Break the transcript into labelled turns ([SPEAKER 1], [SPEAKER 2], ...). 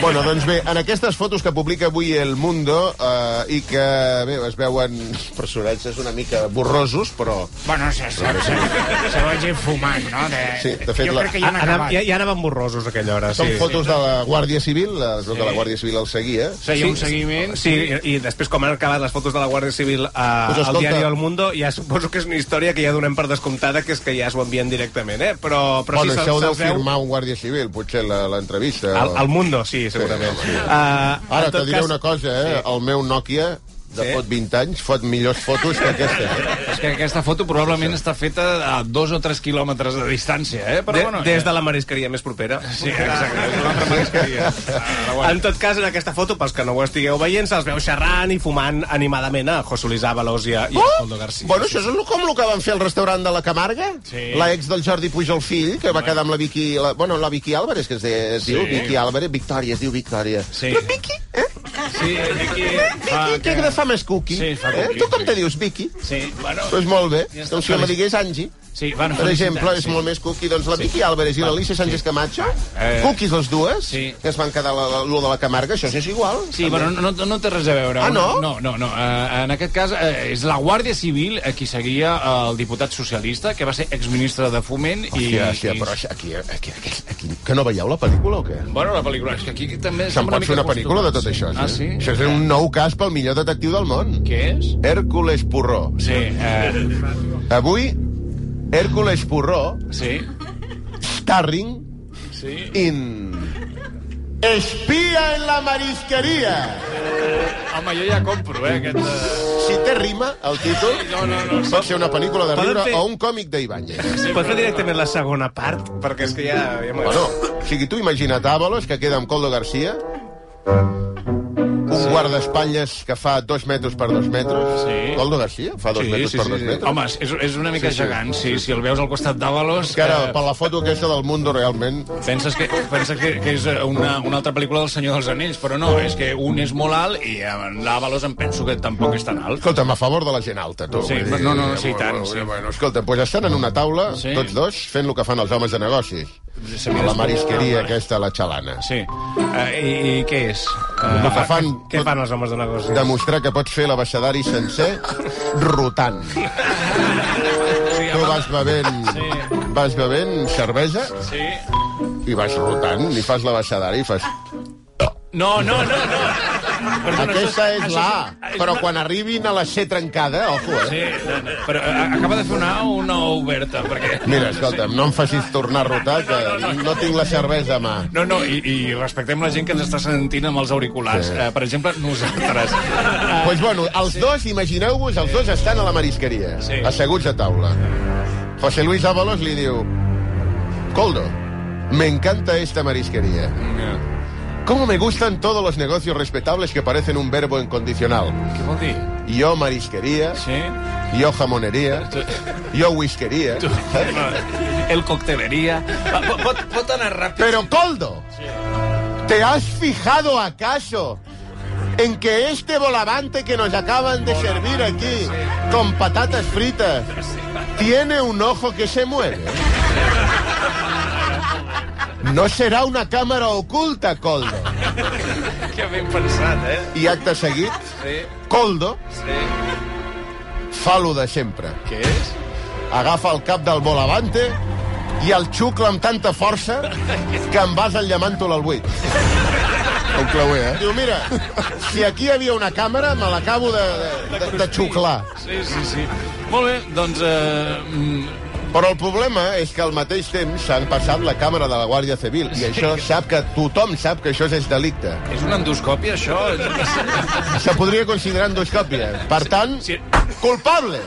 [SPEAKER 1] Bueno, doncs bé, en aquestes fotos que publica avui El Mundo eh, i que, bé, es veuen personatges una mica borrosos, però...
[SPEAKER 2] Bueno, se, se, se, se vagi fumant, no? De,
[SPEAKER 1] Sí, de fet,
[SPEAKER 2] jo
[SPEAKER 1] la-
[SPEAKER 2] crec que ja
[SPEAKER 3] Ja,
[SPEAKER 2] n'ha
[SPEAKER 3] Ah, anava,
[SPEAKER 2] acabat.
[SPEAKER 3] ja, ja anaven borrosos a aquella hora,
[SPEAKER 1] Són
[SPEAKER 3] sí.
[SPEAKER 1] fotos de la Guàrdia Civil, es veu que la Guàrdia Civil el seguia.
[SPEAKER 4] Feia un seguiment.
[SPEAKER 3] Sí, i, i després com han acabat les fotos de la Guàrdia Civil a,
[SPEAKER 1] Doncs
[SPEAKER 3] al
[SPEAKER 1] escolta.
[SPEAKER 3] diari del Mundo, ja suposo que és una història que ja donem per descomptada, que és que ja s'ho envien directament, eh? Però, però
[SPEAKER 1] bueno,
[SPEAKER 3] sí,
[SPEAKER 1] això ho
[SPEAKER 3] se'ls-
[SPEAKER 1] deu
[SPEAKER 3] se'ls veu-
[SPEAKER 1] firmar un Guàrdia Civil, potser la- l'entrevista.
[SPEAKER 3] Al,
[SPEAKER 1] o-
[SPEAKER 3] al Mundo, sí, segurament.
[SPEAKER 1] Sí, sí.
[SPEAKER 3] Uh,
[SPEAKER 1] Ara, te diré una cosa, eh? El meu Nokia, de
[SPEAKER 3] Sí.
[SPEAKER 1] fot 20 anys, fot millors fotos que aquesta. Eh?
[SPEAKER 4] És que aquesta foto probablement està feta a dos o tres quilòmetres de distància, eh? Però
[SPEAKER 3] De,
[SPEAKER 4] bueno,
[SPEAKER 3] des de la marisqueria més propera.
[SPEAKER 4] Sí, exacte, és una altra marisqueria. Ah, bueno.
[SPEAKER 3] En tot cas, en aquesta foto, pels que no ho estigueu veient, se'ls veu xerrant i fumant animadament a José Luis Ábalos i a, i a
[SPEAKER 4] Oh!
[SPEAKER 3] Coldo García.
[SPEAKER 1] Bueno, això és el- com el que van fer al restaurant de la Camarga,
[SPEAKER 4] Sí.
[SPEAKER 1] la ex del Jordi Pujol fill, que va quedar amb la Vicky... La, bueno, la Vicky Álvarez, que es, de, es diu Vicky Álvarez, Victòria, es diu Victòria.
[SPEAKER 4] Sí. Ah,
[SPEAKER 1] Però Vicky, eh?
[SPEAKER 4] Sí, Vicky...
[SPEAKER 1] Vicky,
[SPEAKER 4] Fa,
[SPEAKER 1] que, que fa més cookie.
[SPEAKER 4] Sí, fa
[SPEAKER 1] eh?
[SPEAKER 4] cookie,
[SPEAKER 1] Tu com
[SPEAKER 4] sí.
[SPEAKER 1] te dius, Vicky? Doncs
[SPEAKER 4] Sí, bueno...
[SPEAKER 1] pues molt bé.
[SPEAKER 4] Ja està,
[SPEAKER 1] doncs si me
[SPEAKER 4] feliç.
[SPEAKER 1] digués Angie,
[SPEAKER 4] Sí, bueno,
[SPEAKER 1] per exemple, és
[SPEAKER 4] sí.
[SPEAKER 1] molt més cookie. Doncs la Vicky Álvarez i l'Alicia Sánchez Camacho,
[SPEAKER 4] Eh.
[SPEAKER 1] cookies les dues,
[SPEAKER 4] Sí.
[SPEAKER 1] que es van quedar la- la- lo de la Camarga, això és igual.
[SPEAKER 4] Sí,
[SPEAKER 1] també.
[SPEAKER 4] però no, no té res a veure.
[SPEAKER 1] Ah, no?
[SPEAKER 4] No, no, no. Eh, en aquest cas eh, és la Guàrdia Civil eh, qui seguia eh, el diputat socialista, que va ser exministre de Foment. i,
[SPEAKER 1] Hòstia, hòstia,
[SPEAKER 4] i...
[SPEAKER 1] però això- aquí, aquí, aquí, aquí, que no veieu la pel·lícula o què?
[SPEAKER 4] Bueno, la pel·lícula, és que aquí també...
[SPEAKER 1] Se'n pot fer una pel·lícula de tot això,
[SPEAKER 4] Ah, sí?
[SPEAKER 1] Això és un nou cas pel millor detectiu del món.
[SPEAKER 4] Què és?
[SPEAKER 1] Hèrcules Porró.
[SPEAKER 4] Sí, eh,
[SPEAKER 1] Avui, Hèrcules Porró,
[SPEAKER 4] eh, sí,
[SPEAKER 1] starring
[SPEAKER 4] sí.
[SPEAKER 1] in... Espia en la marisqueria.
[SPEAKER 4] Home, jo ja compro, eh, aquest... eh,
[SPEAKER 1] Si té rima, el títol,
[SPEAKER 4] No, no, no.
[SPEAKER 1] pot ser una pel·lícula de
[SPEAKER 3] Poden
[SPEAKER 1] riure
[SPEAKER 3] fer-
[SPEAKER 1] o un còmic d'Ibáñez.
[SPEAKER 3] Pots fer directament la segona part? Perquè és que ja... ja m'ho-
[SPEAKER 1] Bueno, o sigui, tu imagina't Avalos, que queda amb Coldo Garcia, un guardaespatlles que fa dos metres per dos metres.
[SPEAKER 4] Sí.
[SPEAKER 1] Coldo Garcia fa dos
[SPEAKER 4] Sí,
[SPEAKER 1] metres
[SPEAKER 4] sí,
[SPEAKER 1] per
[SPEAKER 4] sí,
[SPEAKER 1] dos
[SPEAKER 4] sí.
[SPEAKER 1] metres.
[SPEAKER 4] Home, és, és una mica
[SPEAKER 1] Sí, sí.
[SPEAKER 4] gegant, sí, Si el veus al costat d'Avalos...
[SPEAKER 1] Que ara,
[SPEAKER 4] eh,
[SPEAKER 1] per la foto aquesta del Mundo, realment...
[SPEAKER 4] Penses que, penses que, que és eh, una, una altra pel·lícula del Senyor dels Anells, però no, és que un és molt alt i en l'Avalos em penso que tampoc és tan alt.
[SPEAKER 1] Escolta'm, a favor de la gent alta, tu.
[SPEAKER 4] Sí,
[SPEAKER 1] Vull dir,
[SPEAKER 4] no, no, no, sí,
[SPEAKER 1] bueno,
[SPEAKER 4] tant,
[SPEAKER 1] Bueno,
[SPEAKER 4] sí.
[SPEAKER 1] bueno, escolta, doncs estan en una taula,
[SPEAKER 4] Sí.
[SPEAKER 1] tots dos, fent el que fan els homes de negocis.
[SPEAKER 4] Sí,
[SPEAKER 1] A la
[SPEAKER 4] sí.
[SPEAKER 1] marisqueria aquesta, a la xalana.
[SPEAKER 4] eh, Sí. Uh, i, I què és?
[SPEAKER 1] El
[SPEAKER 4] Uh,
[SPEAKER 1] que fan...
[SPEAKER 3] Què fan els homes de negoci?
[SPEAKER 1] demostrar que pots fer l'abaixadari sencer rotant. Tu vas bevent, vas bevent cervesa
[SPEAKER 4] sí.
[SPEAKER 1] i vas rotant, i fas l'abaixadari i fas...
[SPEAKER 4] No, no, no, no. Perdona,
[SPEAKER 1] Aquesta
[SPEAKER 4] això
[SPEAKER 1] és
[SPEAKER 4] això
[SPEAKER 1] la A,
[SPEAKER 4] és
[SPEAKER 1] però
[SPEAKER 4] una-
[SPEAKER 1] quan arribin a la C trencada, ojo, eh?
[SPEAKER 4] Sí, no, no. però eh, acaba de fer una A o una O oberta, perquè...
[SPEAKER 1] Mira, escolta'm, no em facis tornar a rotar, que no tinc la cervesa a mà.
[SPEAKER 4] No, no, i, i respectem la gent que ens està sentint amb els auriculars.
[SPEAKER 1] Sí.
[SPEAKER 4] Sí. Uh, per exemple, nosaltres. Uh,
[SPEAKER 1] Doncs pues bueno, els dos, imagineu-vos, els dos estan a la marisqueria,
[SPEAKER 4] Sí.
[SPEAKER 1] asseguts a taula. José Luis Ábalos li diu... Coldo, me encanta esta marisqueria.
[SPEAKER 4] Eh,
[SPEAKER 1] ¿Cómo me gustan todos los negocios respetables que parecen un verbo incondicional?
[SPEAKER 4] què vol dir?
[SPEAKER 1] Yo marisquería,
[SPEAKER 4] Sí?
[SPEAKER 1] yo jamonería, yo whiskería.
[SPEAKER 4] El coctelería. Va, po- Pot, pot anar ràpid?
[SPEAKER 1] Pero Coldo, ¿te has fijado acaso en que este volavante que nos acaban de servir aquí con patatas fritas tiene un ojo que se mueve? No será una cámara oculta, Coldo.
[SPEAKER 4] Que ben pensat, eh?
[SPEAKER 1] I acte seguit,
[SPEAKER 4] Sí,
[SPEAKER 1] Coldo
[SPEAKER 4] sí.
[SPEAKER 1] fa lo de sempre.
[SPEAKER 4] Què és?
[SPEAKER 1] agafa el cap del volavante i el xucla amb tanta força que em vas enllamant-te'l al buit. Un clauer, eh? Diu, mira, si aquí hi havia una càmera, me l'acabo de, de, de, de xuclar.
[SPEAKER 4] Sí, sí, sí. Molt bé, doncs... Eh,
[SPEAKER 1] Però el problema és que al mateix temps s'han passat la càmera de la Guàrdia Civil i això sap que tothom sap que això és delicte.
[SPEAKER 4] és una endoscòpia, això?
[SPEAKER 1] Se podria considerar endoscòpia. Per tant,
[SPEAKER 4] Sí.
[SPEAKER 1] culpable!